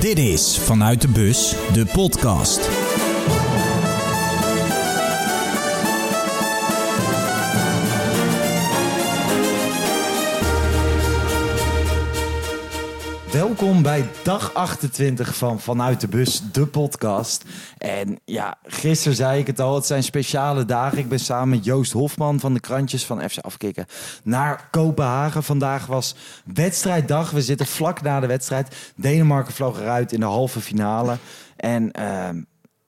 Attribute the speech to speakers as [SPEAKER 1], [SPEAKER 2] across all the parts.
[SPEAKER 1] Dit is Vanuit de Bus, de podcast.
[SPEAKER 2] Welkom bij dag 28 van Vanuit de Bus, de podcast. En ja, gisteren zei ik het al, het zijn speciale dagen. Ik ben samen met Joost Hofman van de krantjes van FC Afkikken naar Kopenhagen. Vandaag was wedstrijddag. We zitten vlak na de wedstrijd. Denemarken vloog eruit in de halve finale. En ehm,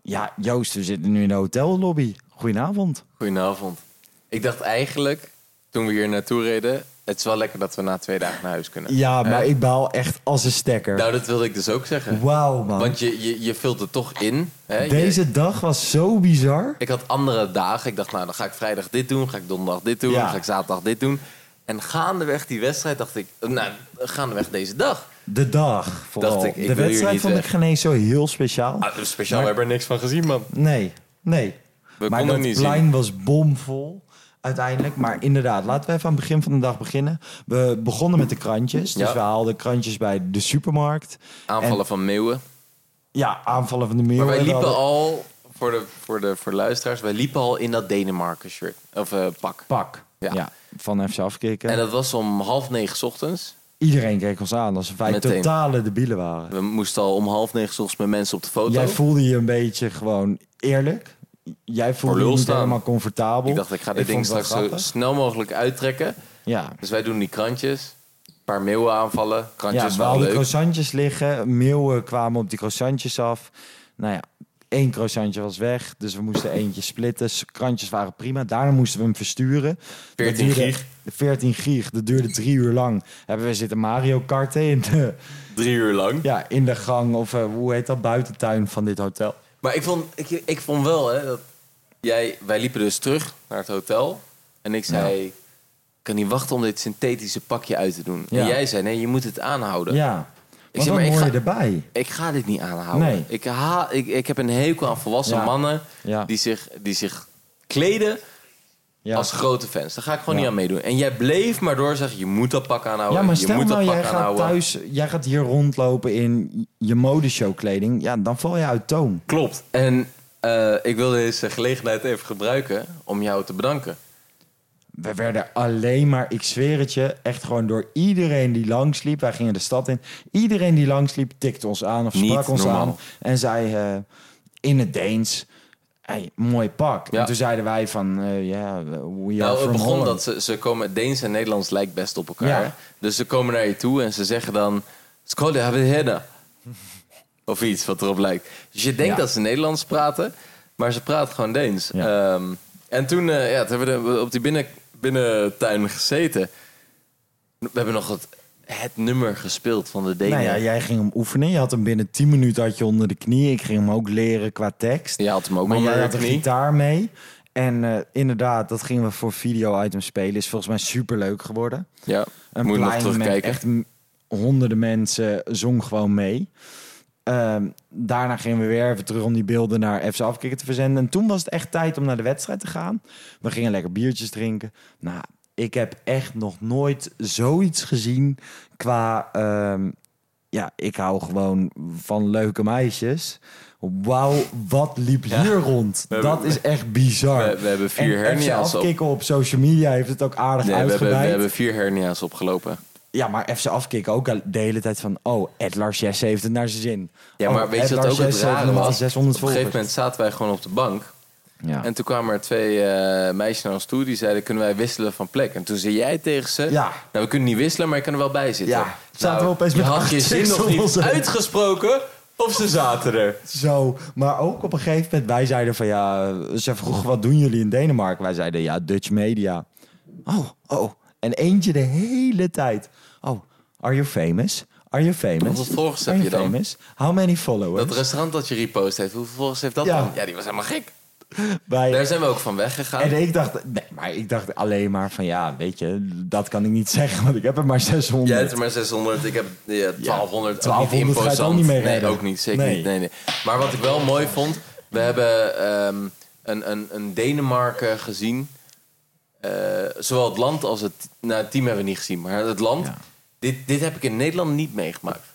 [SPEAKER 2] ja, Joost, we zitten nu in de hotellobby. Goedenavond.
[SPEAKER 3] Goedenavond. Ik dacht eigenlijk, toen we hier naartoe reden... het is wel lekker dat we na twee dagen naar huis kunnen.
[SPEAKER 2] Ja, maar
[SPEAKER 3] Hè?
[SPEAKER 2] ik baal echt als een stekker.
[SPEAKER 3] Nou, dat wilde ik dus ook zeggen.
[SPEAKER 2] Wauw, man.
[SPEAKER 3] Want je, je, je vult het toch in. Hè? Je-
[SPEAKER 2] Deze dag was zo bizar.
[SPEAKER 3] ik had andere dagen. Ik dacht, nou, dan ga ik vrijdag dit doen. Ga ik donderdag dit doen.
[SPEAKER 2] Ja.
[SPEAKER 3] Dan ga ik zaterdag dit doen. En gaandeweg die wedstrijd dacht ik... Nou, gaandeweg deze dag.
[SPEAKER 2] De dag. Vooral.
[SPEAKER 3] Dacht ik, ik
[SPEAKER 2] de
[SPEAKER 3] wil hier
[SPEAKER 2] wedstrijd
[SPEAKER 3] niet eh,
[SPEAKER 2] vond ik
[SPEAKER 3] weg.
[SPEAKER 2] geen eens zo heel speciaal.
[SPEAKER 3] Ah, dus
[SPEAKER 2] Maar-
[SPEAKER 3] speciaal, we hebben er niks van gezien, man.
[SPEAKER 2] Nee, nee.
[SPEAKER 3] We
[SPEAKER 2] maar
[SPEAKER 3] konden
[SPEAKER 2] dat
[SPEAKER 3] niet
[SPEAKER 2] plein
[SPEAKER 3] zien.
[SPEAKER 2] was bomvol uiteindelijk. Maar inderdaad, laten we even aan het begin van de dag beginnen. We begonnen met de krantjes. Dus
[SPEAKER 3] Ja.
[SPEAKER 2] we haalden krantjes bij de supermarkt.
[SPEAKER 3] Aanvallen
[SPEAKER 2] En-
[SPEAKER 3] van meeuwen.
[SPEAKER 2] ja, aanvallen van de muur.
[SPEAKER 3] Maar wij
[SPEAKER 2] We
[SPEAKER 3] liepen
[SPEAKER 2] hadden
[SPEAKER 3] al... Voor de, voor, de, voor de luisteraars, wij liepen al in dat Denemarken shirt. Of eh, pak.
[SPEAKER 2] Pak. Ja.
[SPEAKER 3] Ja.
[SPEAKER 2] van FC afkicken.
[SPEAKER 3] En dat was om half negen 's ochtends.
[SPEAKER 2] Iedereen keek ons aan alsof wij
[SPEAKER 3] Meteen.
[SPEAKER 2] totale debielen waren.
[SPEAKER 3] We moesten al om half negen 's ochtends met mensen op de foto.
[SPEAKER 2] Jij voelde je een beetje gewoon eerlijk. Jij voelde je
[SPEAKER 3] lul
[SPEAKER 2] niet
[SPEAKER 3] staan.
[SPEAKER 2] helemaal comfortabel.
[SPEAKER 3] ik dacht, ik ga dit ding
[SPEAKER 2] vond het
[SPEAKER 3] straks eh,
[SPEAKER 2] wel
[SPEAKER 3] zo
[SPEAKER 2] grappig.
[SPEAKER 3] snel mogelijk uittrekken.
[SPEAKER 2] Ja,
[SPEAKER 3] Dus wij doen die krantjes. Een paar meeuwen aanvallen.
[SPEAKER 2] Ja,
[SPEAKER 3] Krantjes
[SPEAKER 2] we
[SPEAKER 3] wel
[SPEAKER 2] hadden
[SPEAKER 3] leuk.
[SPEAKER 2] croissantjes liggen. Meeuwen kwamen op die croissantjes af. Nou ja, één croissantje was weg. Dus we moesten eentje splitten. S- Krantjes waren prima. Daarna moesten we hem versturen. Dat
[SPEAKER 3] 14
[SPEAKER 2] duurde-
[SPEAKER 3] gieg.
[SPEAKER 2] 14 gieg. Dat duurde drie uur lang. Hebben we zitten Mario Karten in de,
[SPEAKER 3] Drie uur lang.
[SPEAKER 2] ja, in de gang. Of eh, hoe heet dat? Buitentuin van dit hotel.
[SPEAKER 3] Maar ik vond, ik, ik vond wel, hè, dat jij, wij liepen dus terug naar het hotel. En ik zei, ik kan niet wachten om dit synthetische pakje uit te doen.
[SPEAKER 2] Ja.
[SPEAKER 3] En jij zei, nee, je moet het aanhouden.
[SPEAKER 2] Ja.
[SPEAKER 3] zeg
[SPEAKER 2] Want dan
[SPEAKER 3] maar, ik
[SPEAKER 2] hoor je
[SPEAKER 3] ga-
[SPEAKER 2] erbij.
[SPEAKER 3] Ik ga dit niet aanhouden.
[SPEAKER 2] Nee.
[SPEAKER 3] Ik, ha, ik, ik heb een hekel aan volwassen
[SPEAKER 2] Ja.
[SPEAKER 3] mannen
[SPEAKER 2] Ja.
[SPEAKER 3] Die, zich, die zich kleden
[SPEAKER 2] Ja.
[SPEAKER 3] als grote fans. Daar ga ik gewoon
[SPEAKER 2] Ja.
[SPEAKER 3] niet aan meedoen. En jij bleef maar doorzeggen, je moet dat pak aanhouden.
[SPEAKER 2] Ja, maar
[SPEAKER 3] oh, je
[SPEAKER 2] stel
[SPEAKER 3] moet
[SPEAKER 2] nou,
[SPEAKER 3] dat
[SPEAKER 2] jij
[SPEAKER 3] pak
[SPEAKER 2] gaat
[SPEAKER 3] aanhouden.
[SPEAKER 2] thuis, jij gaat hier rondlopen in je modeshowkleding. Ja, dan val je uit toon.
[SPEAKER 3] Klopt. En eh, ik wil deze gelegenheid even gebruiken om jou te bedanken.
[SPEAKER 2] We werden alleen maar, ik zweer het je, echt gewoon door iedereen die langsliep. Wij gingen de stad in. Iedereen die langsliep tikte ons aan of sprak
[SPEAKER 3] Niet
[SPEAKER 2] ons
[SPEAKER 3] normaal.
[SPEAKER 2] aan. En zei eh, in het Deens, hey, mooi pak.
[SPEAKER 3] Ja.
[SPEAKER 2] En toen zeiden wij van, eh, ja, we are
[SPEAKER 3] nou, het
[SPEAKER 2] from
[SPEAKER 3] begon
[SPEAKER 2] Holland.
[SPEAKER 3] dat ze, ze komen... Deens en Nederlands lijkt best op elkaar.
[SPEAKER 2] Ja.
[SPEAKER 3] hè? Dus ze komen naar je toe en ze zeggen dan... Skål, jag vill hedda." Of iets wat erop lijkt. Dus je denkt
[SPEAKER 2] Ja.
[SPEAKER 3] dat ze Nederlands praten, maar ze praten gewoon Deens.
[SPEAKER 2] Ja.
[SPEAKER 3] Ehm, en toen, eh, ja, toen hebben we op die binnen, binnentuin gezeten. We hebben nog het, het nummer gespeeld van de Denen.
[SPEAKER 2] Nou ja, jij ging hem oefenen. Je had hem binnen 10 minuten had je onder de knie. Ik ging hem ook leren qua tekst.
[SPEAKER 3] Je had hem ook
[SPEAKER 2] maar
[SPEAKER 3] onder
[SPEAKER 2] jij
[SPEAKER 3] de
[SPEAKER 2] had een
[SPEAKER 3] knie.
[SPEAKER 2] gitaar mee. En eh, inderdaad, dat gingen we voor video-item spelen. Is volgens mij superleuk geworden.
[SPEAKER 3] Ja,
[SPEAKER 2] Een
[SPEAKER 3] moet je nog
[SPEAKER 2] plein met
[SPEAKER 3] terugkijken.
[SPEAKER 2] echt m- honderden mensen zong gewoon mee. Ehm, daarna gingen we weer even terug om die beelden naar FC Afkikken te verzenden. En toen was het echt tijd om naar de wedstrijd te gaan. We gingen lekker biertjes drinken. Nou, ik heb echt nog nooit zoiets gezien qua... ehm, ja, ik hou gewoon van leuke meisjes. Wauw, wat liep hier rond?
[SPEAKER 3] hebben-
[SPEAKER 2] Dat is echt bizar.
[SPEAKER 3] we- we hebben vier
[SPEAKER 2] en FC
[SPEAKER 3] hernia's op.
[SPEAKER 2] Afkikken op social media heeft het ook aardig
[SPEAKER 3] Nee, we, hebben, we
[SPEAKER 2] uitgebreid.
[SPEAKER 3] hebben vier hernia's opgelopen.
[SPEAKER 2] Ja, maar FC afkicken ook de hele tijd van... Oh, Ed Larches heeft het naar zijn zin.
[SPEAKER 3] Ja,
[SPEAKER 2] Oh,
[SPEAKER 3] maar weet
[SPEAKER 2] Ed
[SPEAKER 3] je wat ook
[SPEAKER 2] Larches
[SPEAKER 3] het
[SPEAKER 2] heeft
[SPEAKER 3] rare
[SPEAKER 2] nog maar
[SPEAKER 3] was?
[SPEAKER 2] 600
[SPEAKER 3] Op een gegeven
[SPEAKER 2] volgers.
[SPEAKER 3] moment zaten wij gewoon op de bank.
[SPEAKER 2] Ja.
[SPEAKER 3] En toen kwamen er twee eh, meisjes naar ons toe. Die zeiden, kunnen wij wisselen van plek? En toen zei jij tegen ze...
[SPEAKER 2] Ja.
[SPEAKER 3] Nou, we kunnen niet wisselen, maar je kan er wel bij zitten.
[SPEAKER 2] Ja,
[SPEAKER 3] Nou,
[SPEAKER 2] zaten we opeens
[SPEAKER 3] je
[SPEAKER 2] met
[SPEAKER 3] had
[SPEAKER 2] acht
[SPEAKER 3] je zin
[SPEAKER 2] chicks
[SPEAKER 3] nog
[SPEAKER 2] om
[SPEAKER 3] niet
[SPEAKER 2] ons heen.
[SPEAKER 3] uitgesproken of ze zaten er.
[SPEAKER 2] Zo, maar ook op een gegeven moment... Wij zeiden van ja... Ze vroegen wat doen jullie in Denemarken? Wij zeiden ja, Dutch media. Oh, oh. En eentje de hele tijd. Oh, are you famous? Are you famous?
[SPEAKER 3] Hoeveel volgers
[SPEAKER 2] Are
[SPEAKER 3] heb
[SPEAKER 2] you
[SPEAKER 3] je dan?
[SPEAKER 2] famous? How many followers?
[SPEAKER 3] Dat restaurant dat je repost heeft, hoeveel volgers heeft dat
[SPEAKER 2] Ja.
[SPEAKER 3] dan? Ja, die was helemaal gek.
[SPEAKER 2] Wij-
[SPEAKER 3] Daar zijn we ook van weggegaan.
[SPEAKER 2] En ik dacht, nee, maar ik dacht alleen maar van ja, weet je, dat kan ik niet zeggen, want ik heb er maar 600.
[SPEAKER 3] Jij hebt er maar 600, ik heb ja, 1200. ook
[SPEAKER 2] 1200 ga je
[SPEAKER 3] niet
[SPEAKER 2] het
[SPEAKER 3] imposant.
[SPEAKER 2] ook niet mee
[SPEAKER 3] Nee,
[SPEAKER 2] redden.
[SPEAKER 3] ook niet. Zeker
[SPEAKER 2] Nee.
[SPEAKER 3] niet. Nee, nee. Maar wat ik wel mooi vond, we hebben ehm, een, een, een Denemarken gezien. Eh, zowel het land als het... Nou, het team hebben we niet gezien, maar het land.
[SPEAKER 2] Ja.
[SPEAKER 3] Dit, dit heb ik in Nederland niet meegemaakt.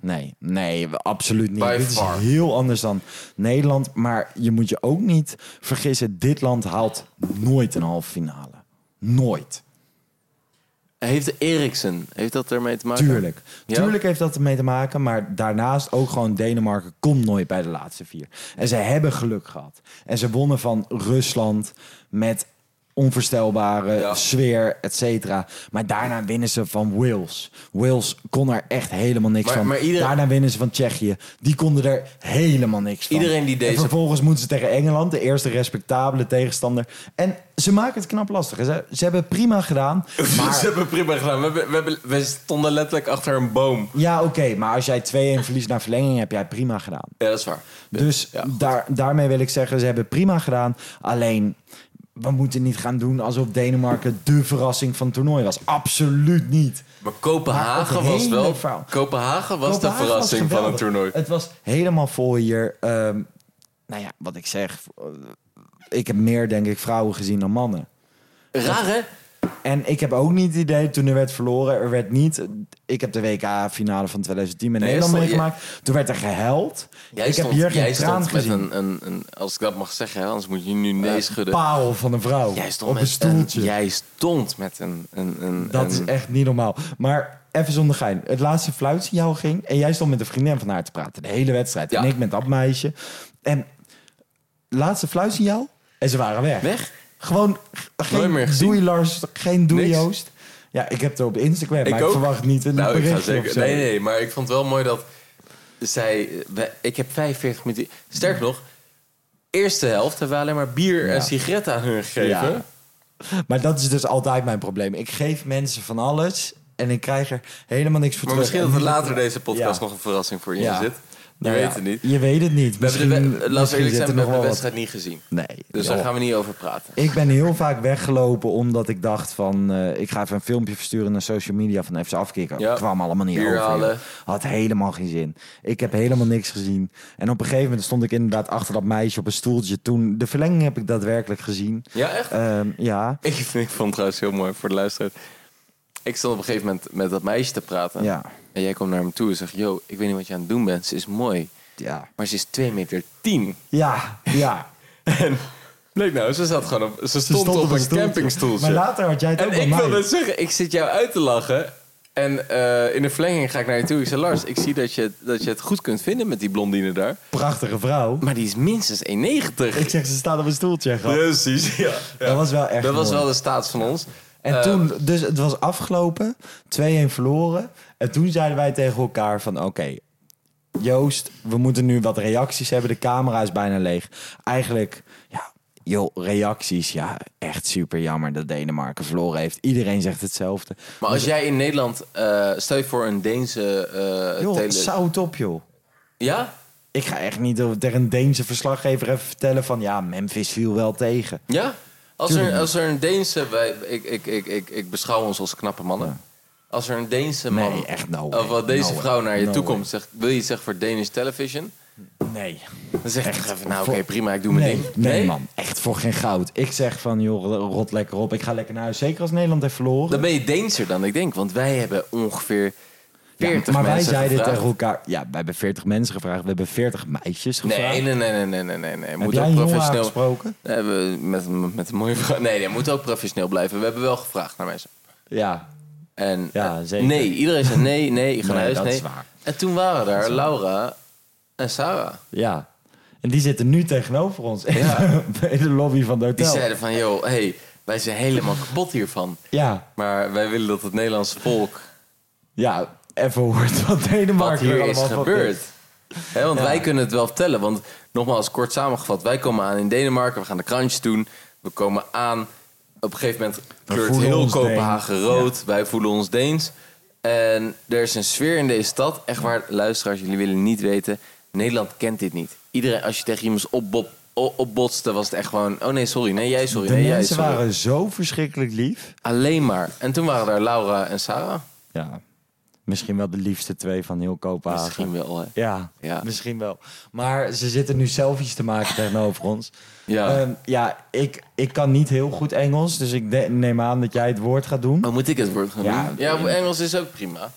[SPEAKER 2] Nee, nee, absoluut niet.
[SPEAKER 3] By
[SPEAKER 2] dit is
[SPEAKER 3] far.
[SPEAKER 2] heel anders dan Nederland. Maar je moet je ook niet vergissen, dit land haalt nooit een halve finale. Nooit.
[SPEAKER 3] Heeft Eriksen, heeft dat ermee te maken?
[SPEAKER 2] Tuurlijk.
[SPEAKER 3] Ja.
[SPEAKER 2] Tuurlijk heeft dat ermee te maken. Maar daarnaast ook gewoon Denemarken komt nooit bij de laatste vier. En ze hebben geluk gehad. En ze wonnen van Rusland met onvoorstelbare
[SPEAKER 3] Ja.
[SPEAKER 2] sfeer, et cetera. Maar daarna winnen ze van Wales. Wales kon er echt helemaal niks
[SPEAKER 3] Maar-
[SPEAKER 2] van.
[SPEAKER 3] maar iedereen-
[SPEAKER 2] Daarna winnen ze van Tsjechië. Die konden er helemaal niks van.
[SPEAKER 3] Iedereen die
[SPEAKER 2] En
[SPEAKER 3] deze-
[SPEAKER 2] vervolgens moeten ze tegen Engeland, de eerste respectabele tegenstander. En ze maken het knap lastig. Ze, ze hebben het prima gedaan. Maar...
[SPEAKER 3] Ze hebben prima gedaan. We, hebben- we, hebben- we stonden letterlijk achter een boom.
[SPEAKER 2] Ja, oké, maar als jij 2-1 verliest naar verlenging, heb jij prima gedaan.
[SPEAKER 3] Ja, dat is waar.
[SPEAKER 2] Dus
[SPEAKER 3] Ja.
[SPEAKER 2] daar, daarmee wil ik zeggen, ze hebben prima gedaan. Alleen, we moeten niet gaan doen alsof Denemarken de verrassing van het toernooi was. Absoluut niet.
[SPEAKER 3] Maar
[SPEAKER 2] Maar
[SPEAKER 3] Kopenhagen
[SPEAKER 2] het
[SPEAKER 3] was
[SPEAKER 2] hele
[SPEAKER 3] wel.
[SPEAKER 2] verhaal.
[SPEAKER 3] Kopenhagen was
[SPEAKER 2] Kopenhagen
[SPEAKER 3] de verrassing van het
[SPEAKER 2] geweldig.
[SPEAKER 3] toernooi.
[SPEAKER 2] Het was helemaal vol hier. Ehm, nou ja, wat ik zeg, eh, ik heb meer, denk ik, vrouwen gezien dan mannen.
[SPEAKER 3] Raar hè?
[SPEAKER 2] En ik heb ook niet het idee, toen er werd verloren, er werd niet... Ik heb de WK-finale van 2010 met
[SPEAKER 3] Nee,
[SPEAKER 2] Nederland
[SPEAKER 3] stond-
[SPEAKER 2] meegemaakt. Toen werd er geheld.
[SPEAKER 3] Jij
[SPEAKER 2] ik
[SPEAKER 3] stond,
[SPEAKER 2] heb hier
[SPEAKER 3] jij
[SPEAKER 2] geen traan
[SPEAKER 3] stond met
[SPEAKER 2] gezien.
[SPEAKER 3] Een, een, een, als ik dat mag zeggen, hè, anders moet je nu nee schudden.
[SPEAKER 2] paal van een vrouw
[SPEAKER 3] jij stond
[SPEAKER 2] op
[SPEAKER 3] met
[SPEAKER 2] een stoeltje.
[SPEAKER 3] Een, jij stond met een. een, een
[SPEAKER 2] dat is
[SPEAKER 3] een-
[SPEAKER 2] echt niet normaal. Maar even zonder gein. Het laatste fluitsignaal ging en jij stond met een vriendin van haar te praten. De hele wedstrijd.
[SPEAKER 3] Ja.
[SPEAKER 2] En ik met dat meisje. En laatste fluitsignaal en ze waren weg.
[SPEAKER 3] Weg?
[SPEAKER 2] Gewoon g-
[SPEAKER 3] Nooit meer
[SPEAKER 2] geen
[SPEAKER 3] gezien.
[SPEAKER 2] doei Lars, geen doei
[SPEAKER 3] Niks.
[SPEAKER 2] Joost. Ja, ik heb het op Instagram, maar ik
[SPEAKER 3] ook.
[SPEAKER 2] verwacht niet een
[SPEAKER 3] nou, ik ga
[SPEAKER 2] berichtje of
[SPEAKER 3] zeker.
[SPEAKER 2] zo.
[SPEAKER 3] Nee, nee, maar ik vond het wel mooi dat zij. eh, we- Ik heb 45 minuten. Sterker nog, eerste helft hebben we alleen maar bier
[SPEAKER 2] Ja.
[SPEAKER 3] en sigaretten aan hun gegeven.
[SPEAKER 2] Ja. Maar dat is dus altijd mijn probleem. Ik geef mensen van alles en ik krijg er helemaal niks voor
[SPEAKER 3] Maar
[SPEAKER 2] terug.
[SPEAKER 3] misschien dat
[SPEAKER 2] En
[SPEAKER 3] er
[SPEAKER 2] nu-
[SPEAKER 3] later deze podcast
[SPEAKER 2] Ja.
[SPEAKER 3] nog een verrassing voor je
[SPEAKER 2] Ja.
[SPEAKER 3] zit. Je
[SPEAKER 2] Nou
[SPEAKER 3] weet
[SPEAKER 2] ja,
[SPEAKER 3] het niet. We
[SPEAKER 2] Je weet het niet.
[SPEAKER 3] hebben
[SPEAKER 2] Misschien,
[SPEAKER 3] de we- Laten we
[SPEAKER 2] misschien
[SPEAKER 3] eerlijk
[SPEAKER 2] zit
[SPEAKER 3] zijn,
[SPEAKER 2] er
[SPEAKER 3] we
[SPEAKER 2] nog
[SPEAKER 3] hebben
[SPEAKER 2] wel
[SPEAKER 3] de
[SPEAKER 2] wat.
[SPEAKER 3] wedstrijd niet gezien.
[SPEAKER 2] Nee.
[SPEAKER 3] Dus
[SPEAKER 2] joh.
[SPEAKER 3] daar gaan we niet over praten.
[SPEAKER 2] Ik ben heel vaak weggelopen omdat ik dacht van... eh, ik ga even een filmpje versturen naar social media van FC Afkikken.
[SPEAKER 3] Ja.
[SPEAKER 2] kwam allemaal niet
[SPEAKER 3] Bier
[SPEAKER 2] over.
[SPEAKER 3] halen.
[SPEAKER 2] joh. Had helemaal geen zin. Ik heb helemaal niks gezien. En op een gegeven moment stond ik inderdaad achter dat meisje op een stoeltje. Toen de verlenging heb ik daadwerkelijk gezien.
[SPEAKER 3] Ja, echt?
[SPEAKER 2] Ehm, ja,
[SPEAKER 3] Ik, vind- ik vond het trouwens heel mooi voor de luisteraar. Ik stond op een gegeven moment met dat meisje te praten.
[SPEAKER 2] ja,
[SPEAKER 3] En jij komt naar me toe en zegt... Yo, ik weet niet wat je aan het doen bent. Ze is mooi.
[SPEAKER 2] ja,
[SPEAKER 3] Maar ze is 2 meter 10.
[SPEAKER 2] ja, ja.
[SPEAKER 3] En bleek nou, ze zat gewoon op... Ze
[SPEAKER 2] Ze
[SPEAKER 3] stond, op, een
[SPEAKER 2] stoeltje. Maar
[SPEAKER 3] campingstoeltje.
[SPEAKER 2] later had jij het ook
[SPEAKER 3] en
[SPEAKER 2] bij
[SPEAKER 3] ik
[SPEAKER 2] mij.
[SPEAKER 3] wil dus zeggen, ik zit jou uit te lachen. En eh, in de verlenging ga ik naar je toe. Ik zeg, Lars, ik zie dat je, dat je het goed kunt vinden met die blondine daar.
[SPEAKER 2] Prachtige vrouw.
[SPEAKER 3] Maar die is minstens 1,90.
[SPEAKER 2] Ik zeg, ze staat op een stoeltje. gast.
[SPEAKER 3] Precies, ja.
[SPEAKER 2] Dat was wel echt
[SPEAKER 3] Dat was
[SPEAKER 2] mooi.
[SPEAKER 3] wel de staat van ons.
[SPEAKER 2] En
[SPEAKER 3] Eh,
[SPEAKER 2] toen, dus het was afgelopen, 2-1 verloren. En toen zeiden wij tegen elkaar van, oké, Joost, we moeten nu wat reacties hebben. De camera is bijna leeg. Eigenlijk, ja, joh, reacties, ja, echt super jammer dat Denemarken verloren heeft. Iedereen zegt hetzelfde.
[SPEAKER 3] Maar als jij in Nederland, eh, stel je voor een Deense eh
[SPEAKER 2] joh,
[SPEAKER 3] tele-
[SPEAKER 2] zout op, joh.
[SPEAKER 3] Ja?
[SPEAKER 2] Ik ga echt niet over- tegen een Deense verslaggever even vertellen van, ja, Memphis viel wel tegen.
[SPEAKER 3] Ja? Als
[SPEAKER 2] Tuurlijk
[SPEAKER 3] er, als er een Deense... Wij, ik, ik, ik, ik, ik beschouw ons als knappe mannen. Als er een Deense man...
[SPEAKER 2] Nee, echt no
[SPEAKER 3] Of
[SPEAKER 2] way.
[SPEAKER 3] wat deze
[SPEAKER 2] No
[SPEAKER 3] vrouw
[SPEAKER 2] way.
[SPEAKER 3] naar je
[SPEAKER 2] No
[SPEAKER 3] toe
[SPEAKER 2] way.
[SPEAKER 3] komt, zegt... Wil je iets zeggen voor Danish television?
[SPEAKER 2] Nee.
[SPEAKER 3] Dan zeg ik toch even, nou oké,
[SPEAKER 2] Voor-
[SPEAKER 3] prima, ik doe mijn
[SPEAKER 2] nee,
[SPEAKER 3] ding.
[SPEAKER 2] Nee, man. Echt voor geen goud. Ik zeg van, joh, rot lekker op. Ik ga lekker naar huis. Zeker als Nederland heeft verloren.
[SPEAKER 3] Dan ben je Deenser dan, ik denk. Want wij hebben ongeveer 40
[SPEAKER 2] maar wij
[SPEAKER 3] mensen
[SPEAKER 2] zeiden
[SPEAKER 3] gevraagd.
[SPEAKER 2] tegen elkaar... Ja, wij hebben 40 mensen gevraagd. We hebben 40 meisjes gevraagd.
[SPEAKER 3] Nee, nee, nee, nee, nee, nee, nee. nee.
[SPEAKER 2] Heb
[SPEAKER 3] Moet
[SPEAKER 2] jij
[SPEAKER 3] ook
[SPEAKER 2] een jongen
[SPEAKER 3] professioneel...
[SPEAKER 2] aangesproken?
[SPEAKER 3] Eh, we- met, met een mooie vrouw. Nee, nee, moet ook professioneel blijven. We hebben wel gevraagd naar mensen.
[SPEAKER 2] Ja.
[SPEAKER 3] En
[SPEAKER 2] Ja,
[SPEAKER 3] eh,
[SPEAKER 2] zeker.
[SPEAKER 3] nee, iedereen zei nee, nee, ik ga
[SPEAKER 2] Nee,
[SPEAKER 3] naar huis,
[SPEAKER 2] dat
[SPEAKER 3] nee.
[SPEAKER 2] is waar.
[SPEAKER 3] En toen waren daar Laura en Sarah.
[SPEAKER 2] Ja. En die zitten nu tegenover ons.
[SPEAKER 3] Ja.
[SPEAKER 2] in de lobby van het
[SPEAKER 3] Die
[SPEAKER 2] hotel.
[SPEAKER 3] zeiden van, joh, hey, wij zijn helemaal kapot hiervan.
[SPEAKER 2] Ja.
[SPEAKER 3] Maar wij willen dat het Nederlandse volk
[SPEAKER 2] Ja. Even hoort wat Denemarken
[SPEAKER 3] wat hier
[SPEAKER 2] er
[SPEAKER 3] is
[SPEAKER 2] allemaal van
[SPEAKER 3] gebeurd. Hè, want wij kunnen het wel vertellen. Want nogmaals, kort samengevat, wij komen aan in Denemarken. We gaan de krantjes doen. We komen aan. Op een gegeven moment kleurt
[SPEAKER 2] voelen
[SPEAKER 3] heel
[SPEAKER 2] ons
[SPEAKER 3] Kopenhagen rood. Wij voelen ons Deens. En er is een sfeer in deze stad. Echt waar, luisteraars, jullie willen niet weten. Nederland kent dit niet. Iedereen, als je tegen iemand opbob, o- opbotste, was het echt gewoon... Oh nee, sorry. Nee, jij sorry.
[SPEAKER 2] De
[SPEAKER 3] nee, jij
[SPEAKER 2] mensen
[SPEAKER 3] sorry.
[SPEAKER 2] waren zo verschrikkelijk lief.
[SPEAKER 3] Alleen maar. En toen waren daar Laura en Sarah.
[SPEAKER 2] Ja. Misschien wel de liefste twee van heel Kopenhagen.
[SPEAKER 3] Misschien wel, hè.
[SPEAKER 2] Ja,
[SPEAKER 3] Ja.
[SPEAKER 2] misschien wel. Maar ze zitten nu selfies te maken tegenover ons.
[SPEAKER 3] Ja.
[SPEAKER 2] Ehm, ja ik, ik kan niet heel goed Engels, dus ik de- neem aan dat jij het woord gaat doen.
[SPEAKER 3] Oh, moet ik het woord gaan
[SPEAKER 2] Ja.
[SPEAKER 3] doen? Ja, Engels is ook prima. Ik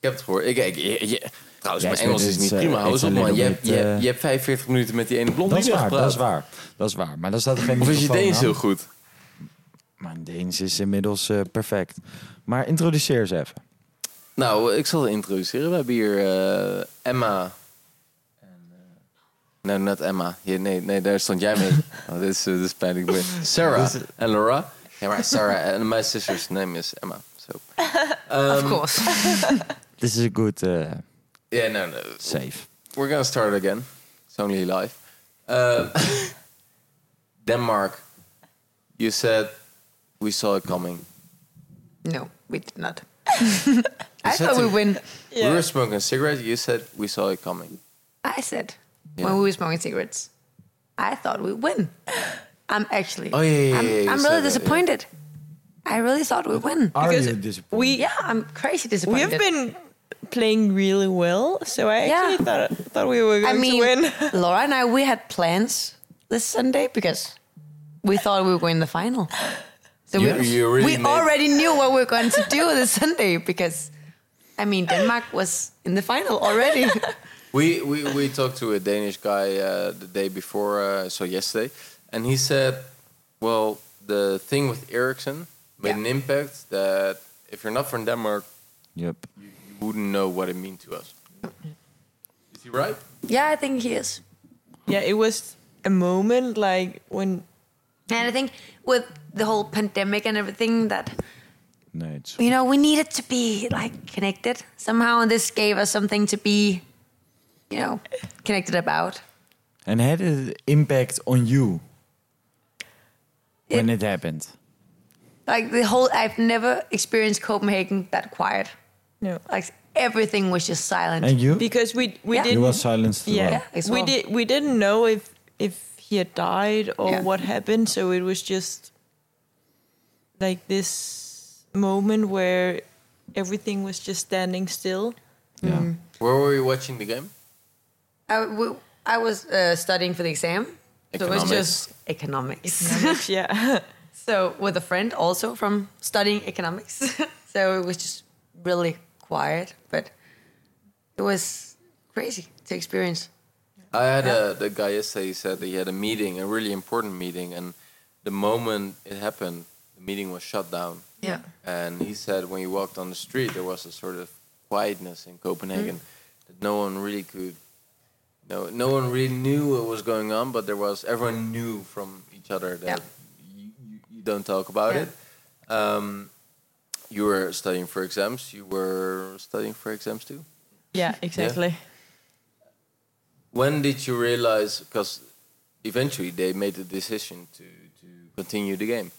[SPEAKER 3] heb het gehoord. Ik, ik, je- je- trouwens,
[SPEAKER 2] Jij
[SPEAKER 3] mijn
[SPEAKER 2] speelt
[SPEAKER 3] Engels is
[SPEAKER 2] iets,
[SPEAKER 3] niet
[SPEAKER 2] eh,
[SPEAKER 3] prima. Hou
[SPEAKER 2] it's
[SPEAKER 3] eens op,
[SPEAKER 2] a
[SPEAKER 3] man. Je,
[SPEAKER 2] little
[SPEAKER 3] hebt-
[SPEAKER 2] bit,
[SPEAKER 3] je,
[SPEAKER 2] eh,
[SPEAKER 3] je hebt 45 minuten met die ene blondie
[SPEAKER 2] Dat is waar,
[SPEAKER 3] gepraat.
[SPEAKER 2] dat is waar. Dat is waar, maar daar staat geen
[SPEAKER 3] Of is je
[SPEAKER 2] microfoon
[SPEAKER 3] Deens
[SPEAKER 2] aan.
[SPEAKER 3] heel goed?
[SPEAKER 2] Mijn Deens is inmiddels eh, perfect. Maar introduceer ze even.
[SPEAKER 3] Nou, ik zal het introduceren. We hebben hier eh, Emma. En, eh, Nee, net Emma. Hier, nee, nee, daar stond jij mee. Oh, dit, is, eh, dit is pijnlijk. Ik ben- Sarah en Laura. Ja, maar Sarah en mijn sister's name is Emma. Zo.
[SPEAKER 4] of
[SPEAKER 3] Hmm.
[SPEAKER 4] course.
[SPEAKER 2] This is a good eh,
[SPEAKER 3] Yeah, no, no.
[SPEAKER 2] save.
[SPEAKER 3] We're gonna start again. It's only live. Uh, Denmark, you said we saw it coming.
[SPEAKER 4] No, we did not.
[SPEAKER 3] said
[SPEAKER 4] I thought we
[SPEAKER 3] to-
[SPEAKER 4] win.
[SPEAKER 3] We
[SPEAKER 5] Yeah.
[SPEAKER 3] were smoking a cigarette. You said we saw it coming.
[SPEAKER 4] I said
[SPEAKER 3] Yeah.
[SPEAKER 4] when we were smoking cigarettes, I thought we win. I'm actually.
[SPEAKER 3] Oh, yeah, yeah,
[SPEAKER 4] I'm,
[SPEAKER 3] yeah, you said
[SPEAKER 4] I'm
[SPEAKER 3] that,
[SPEAKER 4] really
[SPEAKER 3] yeah. Uh,
[SPEAKER 4] disappointed. I really thought we win.
[SPEAKER 2] Are
[SPEAKER 5] Because
[SPEAKER 2] you disappointed?
[SPEAKER 5] We
[SPEAKER 4] yeah, I'm crazy
[SPEAKER 5] we
[SPEAKER 4] disappointed.
[SPEAKER 5] have been playing really well, so I
[SPEAKER 4] Yeah.
[SPEAKER 5] actually thought thought we were
[SPEAKER 4] I
[SPEAKER 5] going
[SPEAKER 4] mean,
[SPEAKER 5] to win.
[SPEAKER 4] Laura and I we had plans this Sunday because we thought we were going to the final. So
[SPEAKER 3] You-
[SPEAKER 4] we,
[SPEAKER 3] you really
[SPEAKER 4] we
[SPEAKER 3] made-
[SPEAKER 4] already knew what we were going to do this Sunday because, I mean, Denmark was in the final already.
[SPEAKER 3] We, we, we talked to a Danish guy uh, the day before, uh, so yesterday, and he said, well, the thing with Ericsson made
[SPEAKER 4] Yeah.
[SPEAKER 3] an impact that if you're not from Denmark,
[SPEAKER 2] Yep.
[SPEAKER 3] you, you wouldn't know what it meant to us. Is he right?
[SPEAKER 4] yeah, I think he is.
[SPEAKER 5] Yeah, it was a moment like when
[SPEAKER 4] And I think with the whole pandemic and everything that
[SPEAKER 2] Nee, het is
[SPEAKER 4] you know we needed to be like connected somehow, and this gave us something to be, you know, connected about.
[SPEAKER 2] And had it impact on you when it happened?
[SPEAKER 4] Like the whole, I've never experienced Copenhagen that quiet.
[SPEAKER 5] no,
[SPEAKER 4] Like everything was just silent.
[SPEAKER 2] And you?
[SPEAKER 5] because we we
[SPEAKER 4] Yeah.
[SPEAKER 5] didn't
[SPEAKER 2] You were silenced as
[SPEAKER 5] yeah,
[SPEAKER 2] well.
[SPEAKER 4] as
[SPEAKER 5] we
[SPEAKER 4] well.
[SPEAKER 5] did we didn't know if if he had died or
[SPEAKER 4] Yeah.
[SPEAKER 5] what happened, so it was just like this moment where everything was just standing still.
[SPEAKER 2] Yeah.
[SPEAKER 3] Where were you watching the game?
[SPEAKER 4] I, we, I was uh, studying for the exam. So it was just economics.
[SPEAKER 5] yeah.
[SPEAKER 4] so with a friend also from studying economics. so it was just really quiet, but it was crazy to experience.
[SPEAKER 3] I had a the guy yesterday. He said that he had a meeting, a really important meeting, and the moment it happened, the meeting was shut down.
[SPEAKER 4] Yeah.
[SPEAKER 3] And he said when he walked on the street, there was a sort of quietness in Copenhagen that no one really could. No, no one really knew what was going on, but there was everyone knew from each other that you, you, you don't talk about
[SPEAKER 4] Yeah.
[SPEAKER 3] it. Um, you were studying for exams. You were studying for exams too.
[SPEAKER 5] Yeah, exactly.
[SPEAKER 3] When did you realize? Because eventually they made the decision to to continue the game.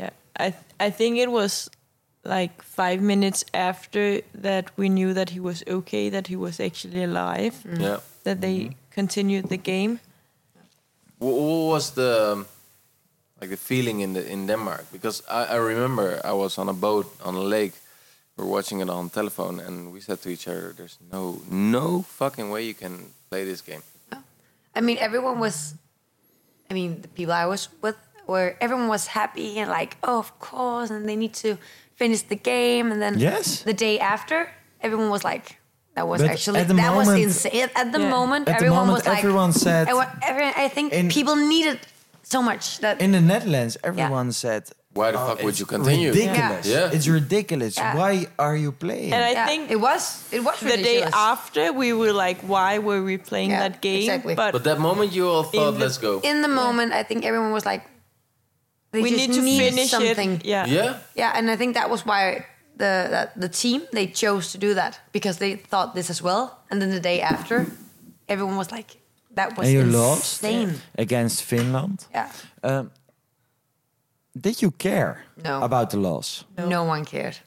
[SPEAKER 5] Yeah, I th- I think it was like five minutes after that we knew that he was okay, that he was actually alive,
[SPEAKER 4] Mm.
[SPEAKER 3] Yeah.
[SPEAKER 5] that they
[SPEAKER 2] Mm-hmm.
[SPEAKER 5] continued the game.
[SPEAKER 3] Wha- What was the um, like the feeling in the in Denmark? Because I, I remember I was on a boat on a lake. We are watching it on telephone, and we said to each other, "There's no no fucking way you can play this game."
[SPEAKER 4] I mean, everyone was, I mean, the people I was with were, everyone was happy and like, oh, of course, and they need to finish the game. And then
[SPEAKER 2] Yes.
[SPEAKER 4] the day after, everyone was like, that was
[SPEAKER 2] But
[SPEAKER 4] actually,
[SPEAKER 2] at the
[SPEAKER 4] that was
[SPEAKER 2] moment-
[SPEAKER 4] insane. At the
[SPEAKER 5] Yeah.
[SPEAKER 4] moment,
[SPEAKER 2] At the
[SPEAKER 4] everyone
[SPEAKER 2] moment,
[SPEAKER 4] was like,
[SPEAKER 2] everyone said-
[SPEAKER 4] I, wa- everyone, I think
[SPEAKER 2] In-
[SPEAKER 4] people needed so much that,
[SPEAKER 2] In the Netherlands, everyone said,
[SPEAKER 3] Why the
[SPEAKER 2] "Oh,
[SPEAKER 3] fuck would
[SPEAKER 2] it's
[SPEAKER 3] you continue?
[SPEAKER 2] Ridiculous.
[SPEAKER 3] Yeah. Yeah.
[SPEAKER 2] It's ridiculous.
[SPEAKER 4] Yeah.
[SPEAKER 2] Why are you playing?
[SPEAKER 5] And I
[SPEAKER 4] yeah,
[SPEAKER 5] think
[SPEAKER 4] it was, it was
[SPEAKER 5] the day
[SPEAKER 4] ridiculous.
[SPEAKER 5] after we were like, why were we playing
[SPEAKER 4] Yeah,
[SPEAKER 5] that game?
[SPEAKER 4] exactly.
[SPEAKER 5] But,
[SPEAKER 3] But that moment, you all thought,
[SPEAKER 5] the-
[SPEAKER 3] "Let's go."
[SPEAKER 4] In the moment, I think everyone was like, they
[SPEAKER 5] we
[SPEAKER 4] just
[SPEAKER 5] need to
[SPEAKER 4] needed
[SPEAKER 5] finish
[SPEAKER 4] something.
[SPEAKER 5] it. Yeah.
[SPEAKER 3] yeah.
[SPEAKER 4] Yeah, and I think that was why the that the team they chose to do that because they thought this as well. And then the day after, everyone was like, "That was
[SPEAKER 2] And you lost
[SPEAKER 4] insane."
[SPEAKER 2] against Finland.
[SPEAKER 4] Yeah,
[SPEAKER 2] Um, did you care
[SPEAKER 4] No.
[SPEAKER 2] about the loss?
[SPEAKER 4] no. one cared.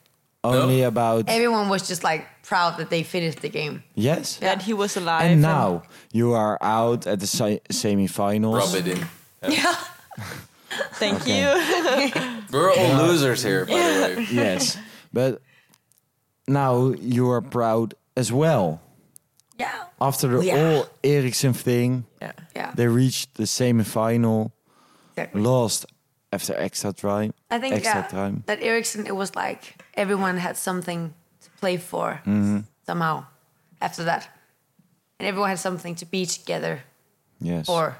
[SPEAKER 2] Only about
[SPEAKER 4] Everyone was just like proud that they finished the game.
[SPEAKER 2] yes.
[SPEAKER 5] That he was alive.
[SPEAKER 2] And now you are out at the si- semi-finals.
[SPEAKER 3] Rub it in.
[SPEAKER 4] Yeah,
[SPEAKER 5] thank you.
[SPEAKER 3] We're all losers here, by the way.
[SPEAKER 2] Yes, but now you are proud as well.
[SPEAKER 4] yeah,
[SPEAKER 2] After the
[SPEAKER 4] Yeah.
[SPEAKER 2] whole Ericsson thing,
[SPEAKER 5] yeah.
[SPEAKER 4] yeah.
[SPEAKER 2] they reached the semi-final,
[SPEAKER 4] Exactly.
[SPEAKER 2] lost after extra time.
[SPEAKER 4] I think uh,
[SPEAKER 2] extra
[SPEAKER 4] yeah,
[SPEAKER 2] time.
[SPEAKER 4] that Ericsson it was like everyone had something to play for
[SPEAKER 2] Mm-hmm.
[SPEAKER 4] somehow after that. And everyone had something to be together
[SPEAKER 2] Yes.
[SPEAKER 4] for.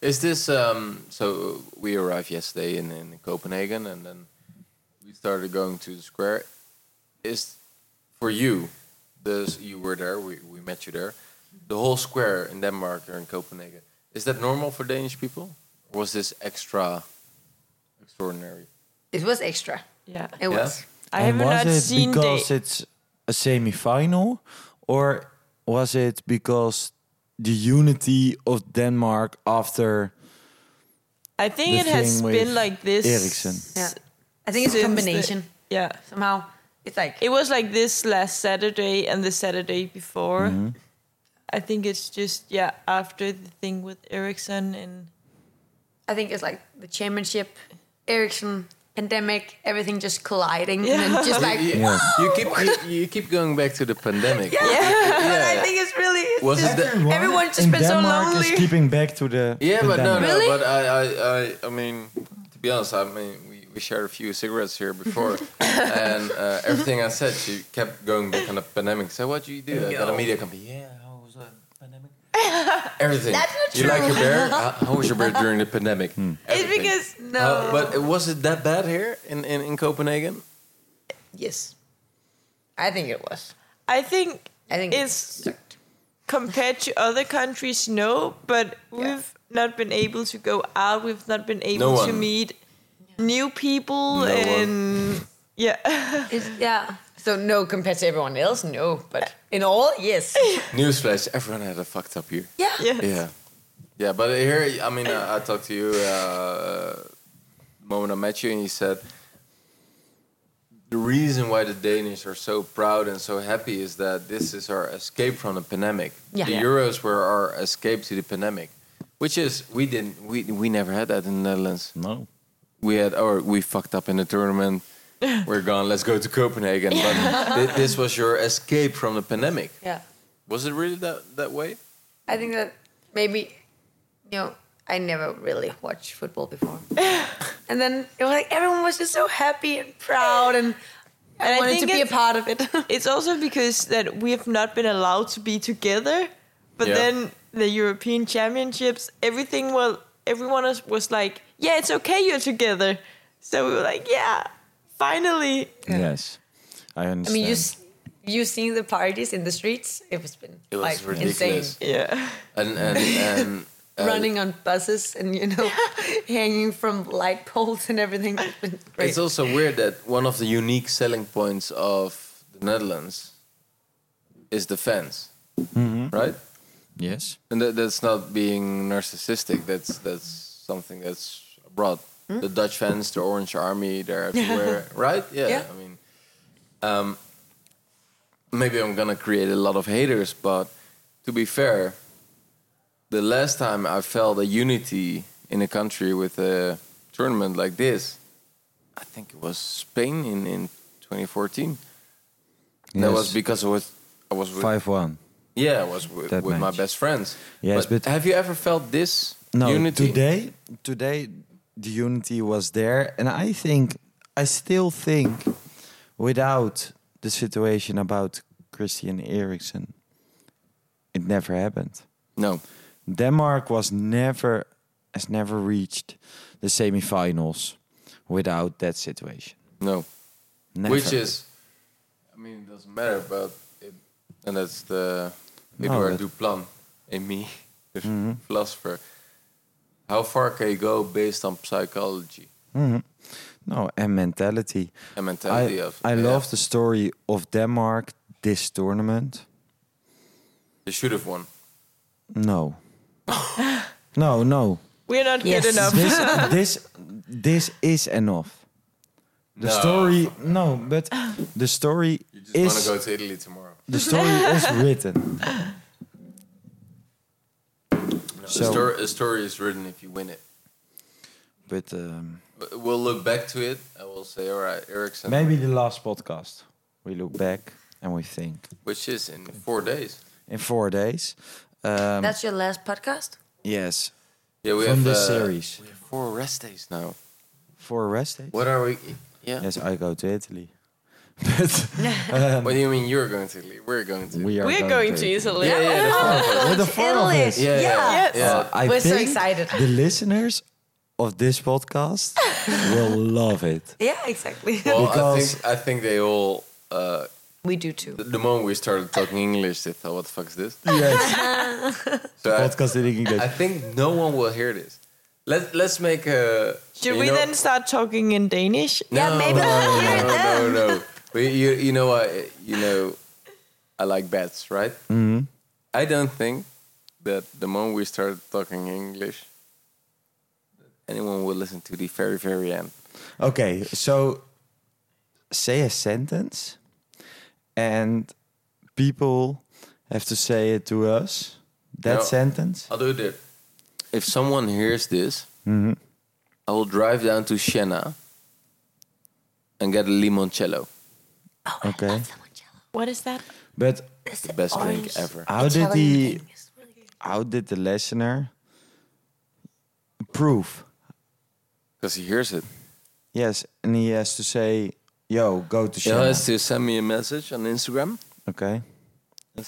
[SPEAKER 3] Is this um, so? We arrived yesterday in, in Copenhagen, and then we started going to the square. Is for you? The you were there. We, we met you there. The whole square in Denmark or in Copenhagen. Is that normal for Danish people? Or was this extra extraordinary?
[SPEAKER 4] It was extra.
[SPEAKER 5] Yeah.
[SPEAKER 4] It was.
[SPEAKER 5] I have
[SPEAKER 2] And was
[SPEAKER 5] not
[SPEAKER 2] it
[SPEAKER 5] seen
[SPEAKER 2] because
[SPEAKER 5] the
[SPEAKER 2] it's a semi-final, or was it because the unity of Denmark after?
[SPEAKER 5] I think it
[SPEAKER 2] the
[SPEAKER 5] has
[SPEAKER 2] thing with
[SPEAKER 5] been like this.
[SPEAKER 2] Eriksen.
[SPEAKER 4] Yeah. I think it's a
[SPEAKER 5] since the-
[SPEAKER 4] combination
[SPEAKER 5] yeah.
[SPEAKER 4] somehow. It's like
[SPEAKER 5] It was like this last Saturday and the Saturday before.
[SPEAKER 3] Mm-hmm.
[SPEAKER 5] I think it's just yeah, after the thing with Ericsson and
[SPEAKER 4] I think it's like the championship, Ericsson, pandemic, everything just colliding and
[SPEAKER 5] Yeah.
[SPEAKER 4] then just like.
[SPEAKER 3] you,
[SPEAKER 4] yeah.
[SPEAKER 3] you keep you, you keep going back to the pandemic.
[SPEAKER 4] but I
[SPEAKER 3] yeah.
[SPEAKER 4] think it's really. it's
[SPEAKER 3] Was
[SPEAKER 4] just-
[SPEAKER 3] it that?
[SPEAKER 4] Everyone just
[SPEAKER 2] in
[SPEAKER 4] been so
[SPEAKER 2] Denmark
[SPEAKER 4] lonely.
[SPEAKER 2] Is keeping back to the
[SPEAKER 3] Yeah,
[SPEAKER 2] the
[SPEAKER 3] but no, no.
[SPEAKER 2] Denmark.
[SPEAKER 4] Really?
[SPEAKER 3] But I, I, I, I mean, to be honest, I mean, we, we shared a few cigarettes here before, and uh, everything I said, she kept going back on the pandemic. So what do you do? At a media company? Yeah, how was the pandemic? everything.
[SPEAKER 4] That's not
[SPEAKER 3] You like
[SPEAKER 4] true.
[SPEAKER 3] your beer? how, how was your beer during the pandemic?
[SPEAKER 4] It's
[SPEAKER 3] Everything.
[SPEAKER 4] because no.
[SPEAKER 3] How- but was it that bad here in, in, in Copenhagen?
[SPEAKER 4] yes, I think it was.
[SPEAKER 5] I think
[SPEAKER 4] I think
[SPEAKER 5] it's compared to other countries, no, but we've not been able to go out. We've not been able to
[SPEAKER 3] one.
[SPEAKER 5] meet new people
[SPEAKER 3] No one.
[SPEAKER 5] and yeah,
[SPEAKER 4] It's, yeah. So no, compared to everyone else, no. But in all, yes.
[SPEAKER 3] Newsflash: Everyone had a fucked up year.
[SPEAKER 4] Yeah.
[SPEAKER 5] yeah,
[SPEAKER 3] Yeah, yeah, but here, I mean, I, I talked to you uh, the moment I met you, and you said the reason why the Danish are so proud and so happy is that this is our escape from the pandemic.
[SPEAKER 4] Yeah.
[SPEAKER 3] The
[SPEAKER 4] Yeah.
[SPEAKER 3] Euros were our escape to the pandemic, which is we didn't, we we never had that in the Netherlands.
[SPEAKER 2] No.
[SPEAKER 3] We had, or we fucked up in the tournament. We're gone. Let's go to Copenhagen. But thi- this was your escape from the pandemic.
[SPEAKER 4] Yeah.
[SPEAKER 3] Was it really that that way?
[SPEAKER 4] I think that maybe, you know, I never really watched football before. and then it was like everyone was just so happy and proud and I
[SPEAKER 5] And I
[SPEAKER 4] wanted
[SPEAKER 5] think
[SPEAKER 4] to be a
[SPEAKER 5] it's-
[SPEAKER 4] part of it.
[SPEAKER 5] It's also because that we have not been allowed to be together. But
[SPEAKER 3] Yeah.
[SPEAKER 5] then the European Championships, everything well, everyone was, was like, "Yeah, it's okay, you're together." So we were like, "Yeah, finally."
[SPEAKER 2] Yes, I
[SPEAKER 4] I
[SPEAKER 2] understand.
[SPEAKER 4] mean, you s- you seen the parties in the streets? It was been
[SPEAKER 3] It was
[SPEAKER 4] like
[SPEAKER 3] ridiculous.
[SPEAKER 4] insane.
[SPEAKER 5] Yeah.
[SPEAKER 3] And and and uh,
[SPEAKER 4] Running on buses and you know, hanging from light poles and everything. It's been great.
[SPEAKER 3] It's also weird that one of the unique selling points of the Netherlands is the fans, right?
[SPEAKER 2] yes.
[SPEAKER 3] And that, that's not being narcissistic. That's that's something that's abroad. The Dutch fans, the Orange Army, they're everywhere, right? Yeah,
[SPEAKER 4] Yeah.
[SPEAKER 3] I mean, um, maybe I'm gonna create a lot of haters, but to be fair, the last time I felt a unity in a country with a tournament like this, I think it was Spain in in 2014. That
[SPEAKER 2] Yes.
[SPEAKER 3] was because I was I was with
[SPEAKER 2] five one.
[SPEAKER 3] yeah, I was with,
[SPEAKER 2] That
[SPEAKER 3] with my
[SPEAKER 2] match.
[SPEAKER 3] best friends.
[SPEAKER 2] Yes, but-
[SPEAKER 3] have you ever felt this
[SPEAKER 2] No,
[SPEAKER 3] unity?
[SPEAKER 2] today, today, the unity was there, and I think, I still think, without the situation about Christian Eriksen, it never happened.
[SPEAKER 3] No,
[SPEAKER 2] Denmark was never has never reached the semifinals without that situation.
[SPEAKER 3] no.
[SPEAKER 2] Never.
[SPEAKER 3] Which is, I mean, it doesn't matter, but it, and that's the Edouard
[SPEAKER 2] but- Mm-hmm.
[SPEAKER 3] Duplan in me, the philosopher. How far can you go based on psychology
[SPEAKER 2] no and mentality.
[SPEAKER 3] and mentality
[SPEAKER 2] I,
[SPEAKER 3] of?
[SPEAKER 2] I
[SPEAKER 3] yeah.
[SPEAKER 2] love the story of Denmark this tournament.
[SPEAKER 3] They should have won.
[SPEAKER 2] No, no, no.
[SPEAKER 5] We're not
[SPEAKER 4] Yes.
[SPEAKER 5] good enough.
[SPEAKER 2] this this this is enough. The
[SPEAKER 3] No.
[SPEAKER 2] story no, but the story
[SPEAKER 3] You just want
[SPEAKER 2] is
[SPEAKER 3] to go to Italy tomorrow.
[SPEAKER 2] the story is written.
[SPEAKER 3] a,
[SPEAKER 2] So-
[SPEAKER 3] story, a story is written if you win it.
[SPEAKER 2] But um,
[SPEAKER 3] But We'll look back to it and we'll say, all right, Ericsson,
[SPEAKER 2] maybe the last podcast we look back and we think
[SPEAKER 3] which is in four days.
[SPEAKER 2] in four days. Um,
[SPEAKER 4] That's your last podcast.
[SPEAKER 2] yes,
[SPEAKER 3] Yeah, we
[SPEAKER 2] from
[SPEAKER 3] have
[SPEAKER 2] this
[SPEAKER 3] uh,
[SPEAKER 2] series
[SPEAKER 3] We have four rest days now.
[SPEAKER 2] four rest days.
[SPEAKER 3] What are we? Yeah.
[SPEAKER 2] Yes, I go to Italy. But
[SPEAKER 3] What do you mean you're going to leave? We're going to.
[SPEAKER 2] we are
[SPEAKER 5] We're going to Italy.
[SPEAKER 3] Yeah, yeah, that's fine.
[SPEAKER 2] We're the four of
[SPEAKER 4] Italy.
[SPEAKER 2] us.
[SPEAKER 3] Yeah, yeah,
[SPEAKER 4] Yeah.
[SPEAKER 5] Yes.
[SPEAKER 3] yeah.
[SPEAKER 2] I
[SPEAKER 4] We're so
[SPEAKER 2] think
[SPEAKER 4] excited.
[SPEAKER 2] The listeners of this podcast will love it.
[SPEAKER 4] Yeah, exactly.
[SPEAKER 3] Well, I
[SPEAKER 2] Because-
[SPEAKER 3] think I think they all. Uh,
[SPEAKER 4] we do too.
[SPEAKER 3] the moment we started talking English, they thought, "What the fuck is this?"
[SPEAKER 2] Yes,
[SPEAKER 3] So I,
[SPEAKER 2] podcast in English.
[SPEAKER 3] I think no one will hear this. Let Let's make a.
[SPEAKER 5] Should
[SPEAKER 3] you
[SPEAKER 5] we
[SPEAKER 3] know-
[SPEAKER 5] then start talking in Danish?
[SPEAKER 4] Yeah, maybe they'll hear
[SPEAKER 3] no,
[SPEAKER 4] them.
[SPEAKER 3] No, no, We, you, you know, I, you know, I like bats, right? Mm-hmm. I don't think that the moment we started talking English, anyone will listen to the very, very end.
[SPEAKER 2] Okay, so say a sentence, and people have to say it to us. That
[SPEAKER 3] No.
[SPEAKER 2] sentence.
[SPEAKER 3] I'll do it. If someone hears this,
[SPEAKER 2] Mm-hmm.
[SPEAKER 3] I will drive down to Siena and get a limoncello.
[SPEAKER 2] Okay,
[SPEAKER 5] What is that?
[SPEAKER 2] but
[SPEAKER 4] It's
[SPEAKER 3] The best drink ever.
[SPEAKER 2] how did
[SPEAKER 4] Italian
[SPEAKER 2] the
[SPEAKER 4] thing is really good.
[SPEAKER 2] how did the listener prove?
[SPEAKER 3] Because he hears it.
[SPEAKER 2] Yes, and he has to say, "Yo, go to
[SPEAKER 3] He
[SPEAKER 2] China."
[SPEAKER 3] has to send me a message on Instagram.
[SPEAKER 2] Okay.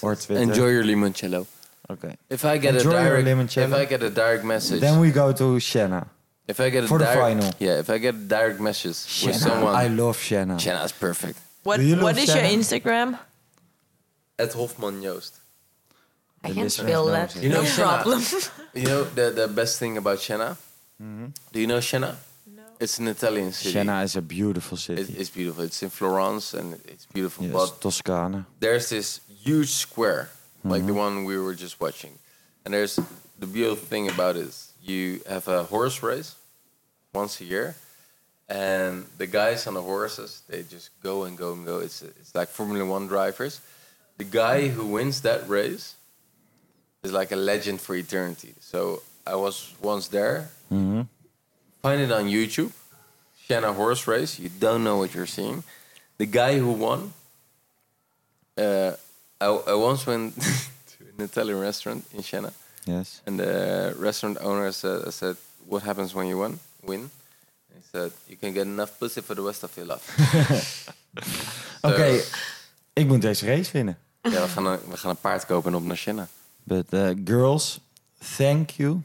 [SPEAKER 2] Or Twitter.
[SPEAKER 3] Enjoy your limoncello.
[SPEAKER 2] Okay.
[SPEAKER 3] If I get
[SPEAKER 2] Enjoy
[SPEAKER 3] a
[SPEAKER 2] your
[SPEAKER 3] direct, if
[SPEAKER 2] limoncello.
[SPEAKER 3] I get a direct message,
[SPEAKER 2] Then we go to Shanna.
[SPEAKER 3] If I get
[SPEAKER 2] For
[SPEAKER 3] a
[SPEAKER 2] the
[SPEAKER 3] direct,
[SPEAKER 2] final.
[SPEAKER 3] yeah, if I get a direct message
[SPEAKER 2] Shanna,
[SPEAKER 3] with someone,
[SPEAKER 2] I love Shanna.
[SPEAKER 3] Shanna is perfect.
[SPEAKER 5] What
[SPEAKER 2] Do you
[SPEAKER 5] What
[SPEAKER 2] love
[SPEAKER 5] is your
[SPEAKER 2] Shanna?
[SPEAKER 5] Instagram?
[SPEAKER 3] At Hofman Joost.
[SPEAKER 4] I can
[SPEAKER 2] listeners
[SPEAKER 4] feel
[SPEAKER 2] know
[SPEAKER 4] that.
[SPEAKER 2] it.
[SPEAKER 3] You know
[SPEAKER 4] no
[SPEAKER 3] Shanna.
[SPEAKER 4] problem.
[SPEAKER 3] You know the the best thing about Shanna.
[SPEAKER 2] Mm-hmm.
[SPEAKER 3] Do you know Shanna? No. It's an Italian city.
[SPEAKER 2] Shanna is a beautiful city.
[SPEAKER 3] It- it's beautiful. It's in Florence and it's beautiful.
[SPEAKER 2] yes,
[SPEAKER 3] But
[SPEAKER 2] Toscana.
[SPEAKER 3] there's this huge square, like the one we were just watching, and there's the beautiful thing about it. is You have a horse race once a year, and the guys on the horses they just go and go and go. It's it's like Formula One drivers. The guy who wins that race is like a legend for eternity. So I was once there. Find it on YouTube. Shanna horse race. You don't know what you're seeing. The guy who won uh, I, I once went to an Italian restaurant in Siena,
[SPEAKER 2] Yes.
[SPEAKER 3] and the restaurant owner said, I said, "What happens when you win?" Win. And he said, "You can get enough pussy for the rest of your life."
[SPEAKER 2] Oké, ik moet deze race winnen.
[SPEAKER 3] ja, we gaan, een, we gaan een paard kopen en op naar Siena.
[SPEAKER 2] But uh, girls, thank you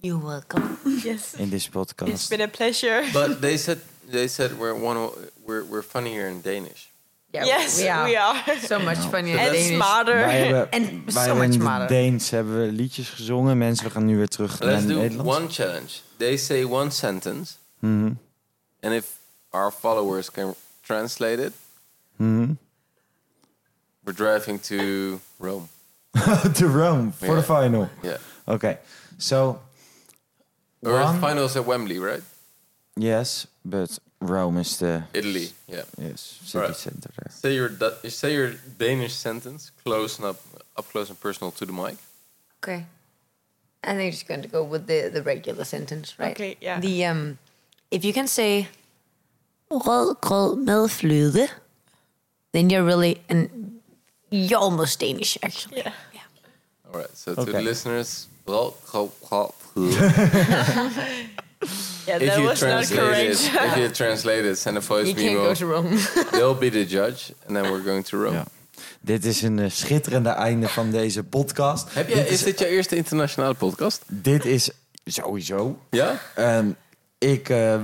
[SPEAKER 4] You're welcome.
[SPEAKER 5] Yes.
[SPEAKER 2] in this
[SPEAKER 5] It's
[SPEAKER 2] podcast.
[SPEAKER 5] been a pleasure.
[SPEAKER 3] But they said they said we're one we're we're funnier in Danish.
[SPEAKER 4] Yeah,
[SPEAKER 5] yes, we are.
[SPEAKER 4] So much funnier
[SPEAKER 5] and
[SPEAKER 4] than Danish.
[SPEAKER 5] smarter.
[SPEAKER 2] Wij hebben,
[SPEAKER 4] En
[SPEAKER 2] wij
[SPEAKER 4] so
[SPEAKER 2] hebben
[SPEAKER 4] much
[SPEAKER 2] in
[SPEAKER 4] smarter.
[SPEAKER 2] het Deens hebben we liedjes gezongen. Mensen, we gaan nu weer terug
[SPEAKER 3] Let's
[SPEAKER 2] naar
[SPEAKER 3] do
[SPEAKER 2] Nederland.
[SPEAKER 3] one challenge. They say one sentence, and if our followers can translate it, we're driving to Rome.
[SPEAKER 2] to Rome for
[SPEAKER 3] Yeah.
[SPEAKER 2] the final. Oké,
[SPEAKER 3] Yeah.
[SPEAKER 2] so
[SPEAKER 3] Or
[SPEAKER 2] One-
[SPEAKER 3] finals at Wembley, right?
[SPEAKER 2] yes, but Rome is the
[SPEAKER 3] Italy. Yeah.
[SPEAKER 2] yes, city
[SPEAKER 3] Alright.
[SPEAKER 2] center there.
[SPEAKER 3] Say your Du- you say your Danish sentence close and up up close and personal to the mic.
[SPEAKER 4] Okay. I think you're just going to go with the, the regular sentence, right?
[SPEAKER 5] Okay, yeah.
[SPEAKER 4] The um, if you can say rød grød med fløde, then you're really an you're almost Danish actually.
[SPEAKER 5] Yeah.
[SPEAKER 3] All right. So to the
[SPEAKER 2] Okay.
[SPEAKER 3] listeners,
[SPEAKER 5] Yeah,
[SPEAKER 3] if
[SPEAKER 5] that
[SPEAKER 3] you
[SPEAKER 5] was not
[SPEAKER 3] translate
[SPEAKER 5] correct.
[SPEAKER 3] it, if you translate it, send a voice
[SPEAKER 4] You can't go
[SPEAKER 3] memo.
[SPEAKER 4] to Rome.
[SPEAKER 3] They'll be the judge, and then we're going to Rome.
[SPEAKER 2] Ja. Dit is een eh, schitterende einde van deze podcast.
[SPEAKER 3] Heb jij,
[SPEAKER 2] dit,
[SPEAKER 3] is
[SPEAKER 2] is,
[SPEAKER 3] dit jouw eerste internationale podcast?
[SPEAKER 2] dit is sowieso.
[SPEAKER 3] Ja?
[SPEAKER 2] Ehm, ik, eh,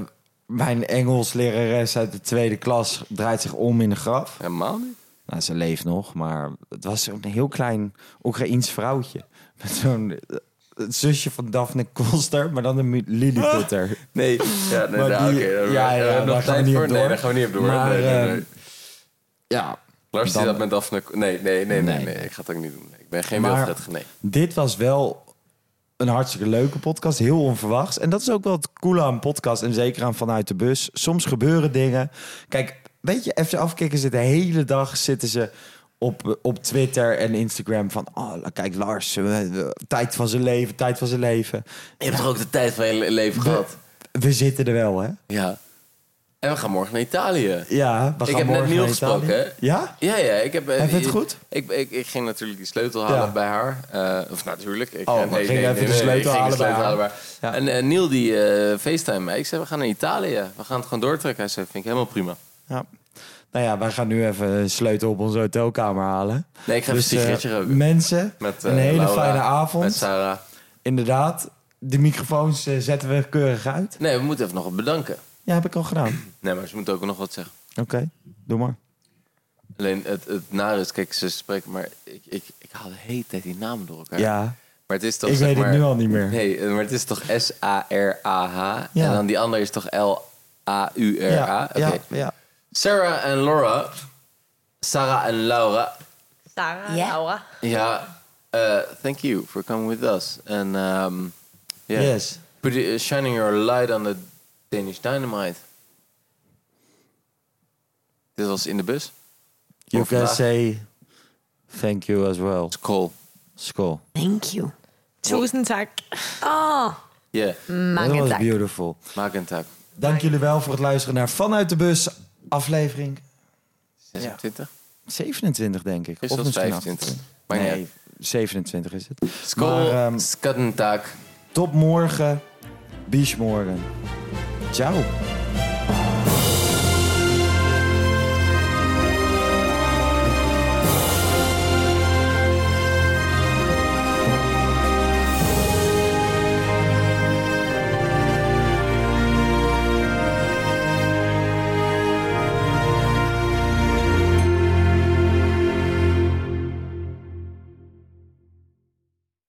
[SPEAKER 2] mijn Engels lerares uit de tweede klas draait zich om in de graf.
[SPEAKER 3] Helemaal niet.
[SPEAKER 2] Nou, ze leeft nog, maar het was een heel klein Oekraïens vrouwtje. Met zo'n eh, het zusje van Daphne Koster, maar dan een mu- Lilliputter.
[SPEAKER 3] Ah. Nee. Ja, nee,
[SPEAKER 2] Maar
[SPEAKER 3] nou,
[SPEAKER 2] die-
[SPEAKER 3] oké. daar-
[SPEAKER 2] ja,
[SPEAKER 3] daar
[SPEAKER 2] ja,
[SPEAKER 3] hebben we
[SPEAKER 2] daar
[SPEAKER 3] nog
[SPEAKER 2] gaan we
[SPEAKER 3] tijd
[SPEAKER 2] niet
[SPEAKER 3] voor?
[SPEAKER 2] op
[SPEAKER 3] Nee,
[SPEAKER 2] door.
[SPEAKER 3] daar gaan we niet op door.
[SPEAKER 2] Maar,
[SPEAKER 3] nee, nee,
[SPEAKER 2] ehm,
[SPEAKER 3] nee.
[SPEAKER 2] Ja,
[SPEAKER 3] Lars
[SPEAKER 2] dan-
[SPEAKER 3] die dat met Daphne... Nee, nee, nee, nee,
[SPEAKER 2] Nee.
[SPEAKER 3] nee. Ik ga het ook niet doen. Nee, ik ben geen
[SPEAKER 2] Maar-
[SPEAKER 3] Wilfred Gené.
[SPEAKER 2] dit was wel een hartstikke leuke podcast. Heel onverwachts. En dat is ook wel het coole aan podcast. En zeker aan Vanuit de Bus. Soms gebeuren dingen. Kijk, weet je, even afkicken ze de hele dag zitten ze... Op, op Twitter en Instagram van... Oh, kijk, Lars, eh, eh, tijd van zijn leven, tijd van zijn leven.
[SPEAKER 3] Je hebt toch ook de tijd van je le- leven
[SPEAKER 2] We,
[SPEAKER 3] gehad?
[SPEAKER 2] we zitten er wel, hè?
[SPEAKER 3] Ja. En we gaan morgen naar Italië.
[SPEAKER 2] Ja, we
[SPEAKER 3] Ik
[SPEAKER 2] gaan
[SPEAKER 3] heb net
[SPEAKER 2] morgen
[SPEAKER 3] Niel
[SPEAKER 2] naar Italië.
[SPEAKER 3] gesproken, hè?
[SPEAKER 2] Ja?
[SPEAKER 3] Ja, ja. Ik heb, eh,
[SPEAKER 2] Heb je het
[SPEAKER 3] je-
[SPEAKER 2] goed?
[SPEAKER 3] Ik, ik, ik ging natuurlijk die sleutel halen
[SPEAKER 2] Ja.
[SPEAKER 3] bij haar. Eh, of natuurlijk. Ik,
[SPEAKER 2] Oh,
[SPEAKER 3] eh,
[SPEAKER 2] maar ging even de
[SPEAKER 3] ik
[SPEAKER 2] sleutel
[SPEAKER 3] ging
[SPEAKER 2] halen bij haar.
[SPEAKER 3] haar.
[SPEAKER 2] Ja.
[SPEAKER 3] En eh, Niel die eh facetime mij. Ik zei, we gaan naar Italië. We gaan het gewoon doortrekken. Hij zei, vind ik helemaal prima.
[SPEAKER 2] ja. Nou ja, wij gaan nu even een sleutel op onze hotelkamer halen.
[SPEAKER 3] Nee, ik ga
[SPEAKER 2] Dus,
[SPEAKER 3] even
[SPEAKER 2] eh,
[SPEAKER 3] een sigaretje roken.
[SPEAKER 2] mensen,
[SPEAKER 3] Met, eh,
[SPEAKER 2] een hele
[SPEAKER 3] Laura,
[SPEAKER 2] fijne avond.
[SPEAKER 3] Met Sarah.
[SPEAKER 2] Inderdaad, de microfoons eh, zetten we keurig uit.
[SPEAKER 3] Nee, we moeten even nog wat bedanken.
[SPEAKER 2] Ja, heb ik al gedaan.
[SPEAKER 3] Nee, maar ze moeten ook nog wat zeggen.
[SPEAKER 2] Oké, doe maar.
[SPEAKER 3] Alleen het, het nare is, kijk, ze spreken, maar ik, ik, ik haal de hele tijd die namen door elkaar.
[SPEAKER 2] Ja,
[SPEAKER 3] Maar het is toch
[SPEAKER 2] Ik
[SPEAKER 3] zeg
[SPEAKER 2] weet het
[SPEAKER 3] maar-
[SPEAKER 2] nu al niet meer.
[SPEAKER 3] Nee, eh, maar het is toch S-A-R-A-H.
[SPEAKER 2] Ja.
[SPEAKER 3] En dan die andere is toch L-A-U-R-A.
[SPEAKER 2] ja,
[SPEAKER 3] Oké.
[SPEAKER 2] ja, ja.
[SPEAKER 3] Sarah en Laura. Sarah en Laura.
[SPEAKER 5] Sarah,
[SPEAKER 4] Ja.
[SPEAKER 5] Laura.
[SPEAKER 3] Ja, eh, thank you for coming with us. And um, yeah,
[SPEAKER 2] Yes.
[SPEAKER 3] Put it- shining your light on the Danish dynamite. Dit was in de bus.
[SPEAKER 2] You
[SPEAKER 3] Of
[SPEAKER 2] can
[SPEAKER 3] vandaag.
[SPEAKER 2] say thank you as well.
[SPEAKER 3] Cool.
[SPEAKER 2] School.
[SPEAKER 4] Thank you.
[SPEAKER 5] Tusind tak.
[SPEAKER 4] Oh,
[SPEAKER 3] Yeah,
[SPEAKER 2] Dat was
[SPEAKER 4] magentak.
[SPEAKER 2] beautiful.
[SPEAKER 3] maak een tak.
[SPEAKER 2] Dank jullie wel voor het luisteren naar Vanuit de Bus, aflevering
[SPEAKER 3] 26?
[SPEAKER 2] 27, denk ik.
[SPEAKER 3] Is
[SPEAKER 2] Of
[SPEAKER 3] dat
[SPEAKER 2] misschien
[SPEAKER 3] 25?
[SPEAKER 2] 28.
[SPEAKER 3] Maar nee.
[SPEAKER 2] nee, 27 is het.
[SPEAKER 3] Skål,
[SPEAKER 2] Maar, ehm,
[SPEAKER 3] skatten tak.
[SPEAKER 2] Tot morgen. Bis morgen. Ciao.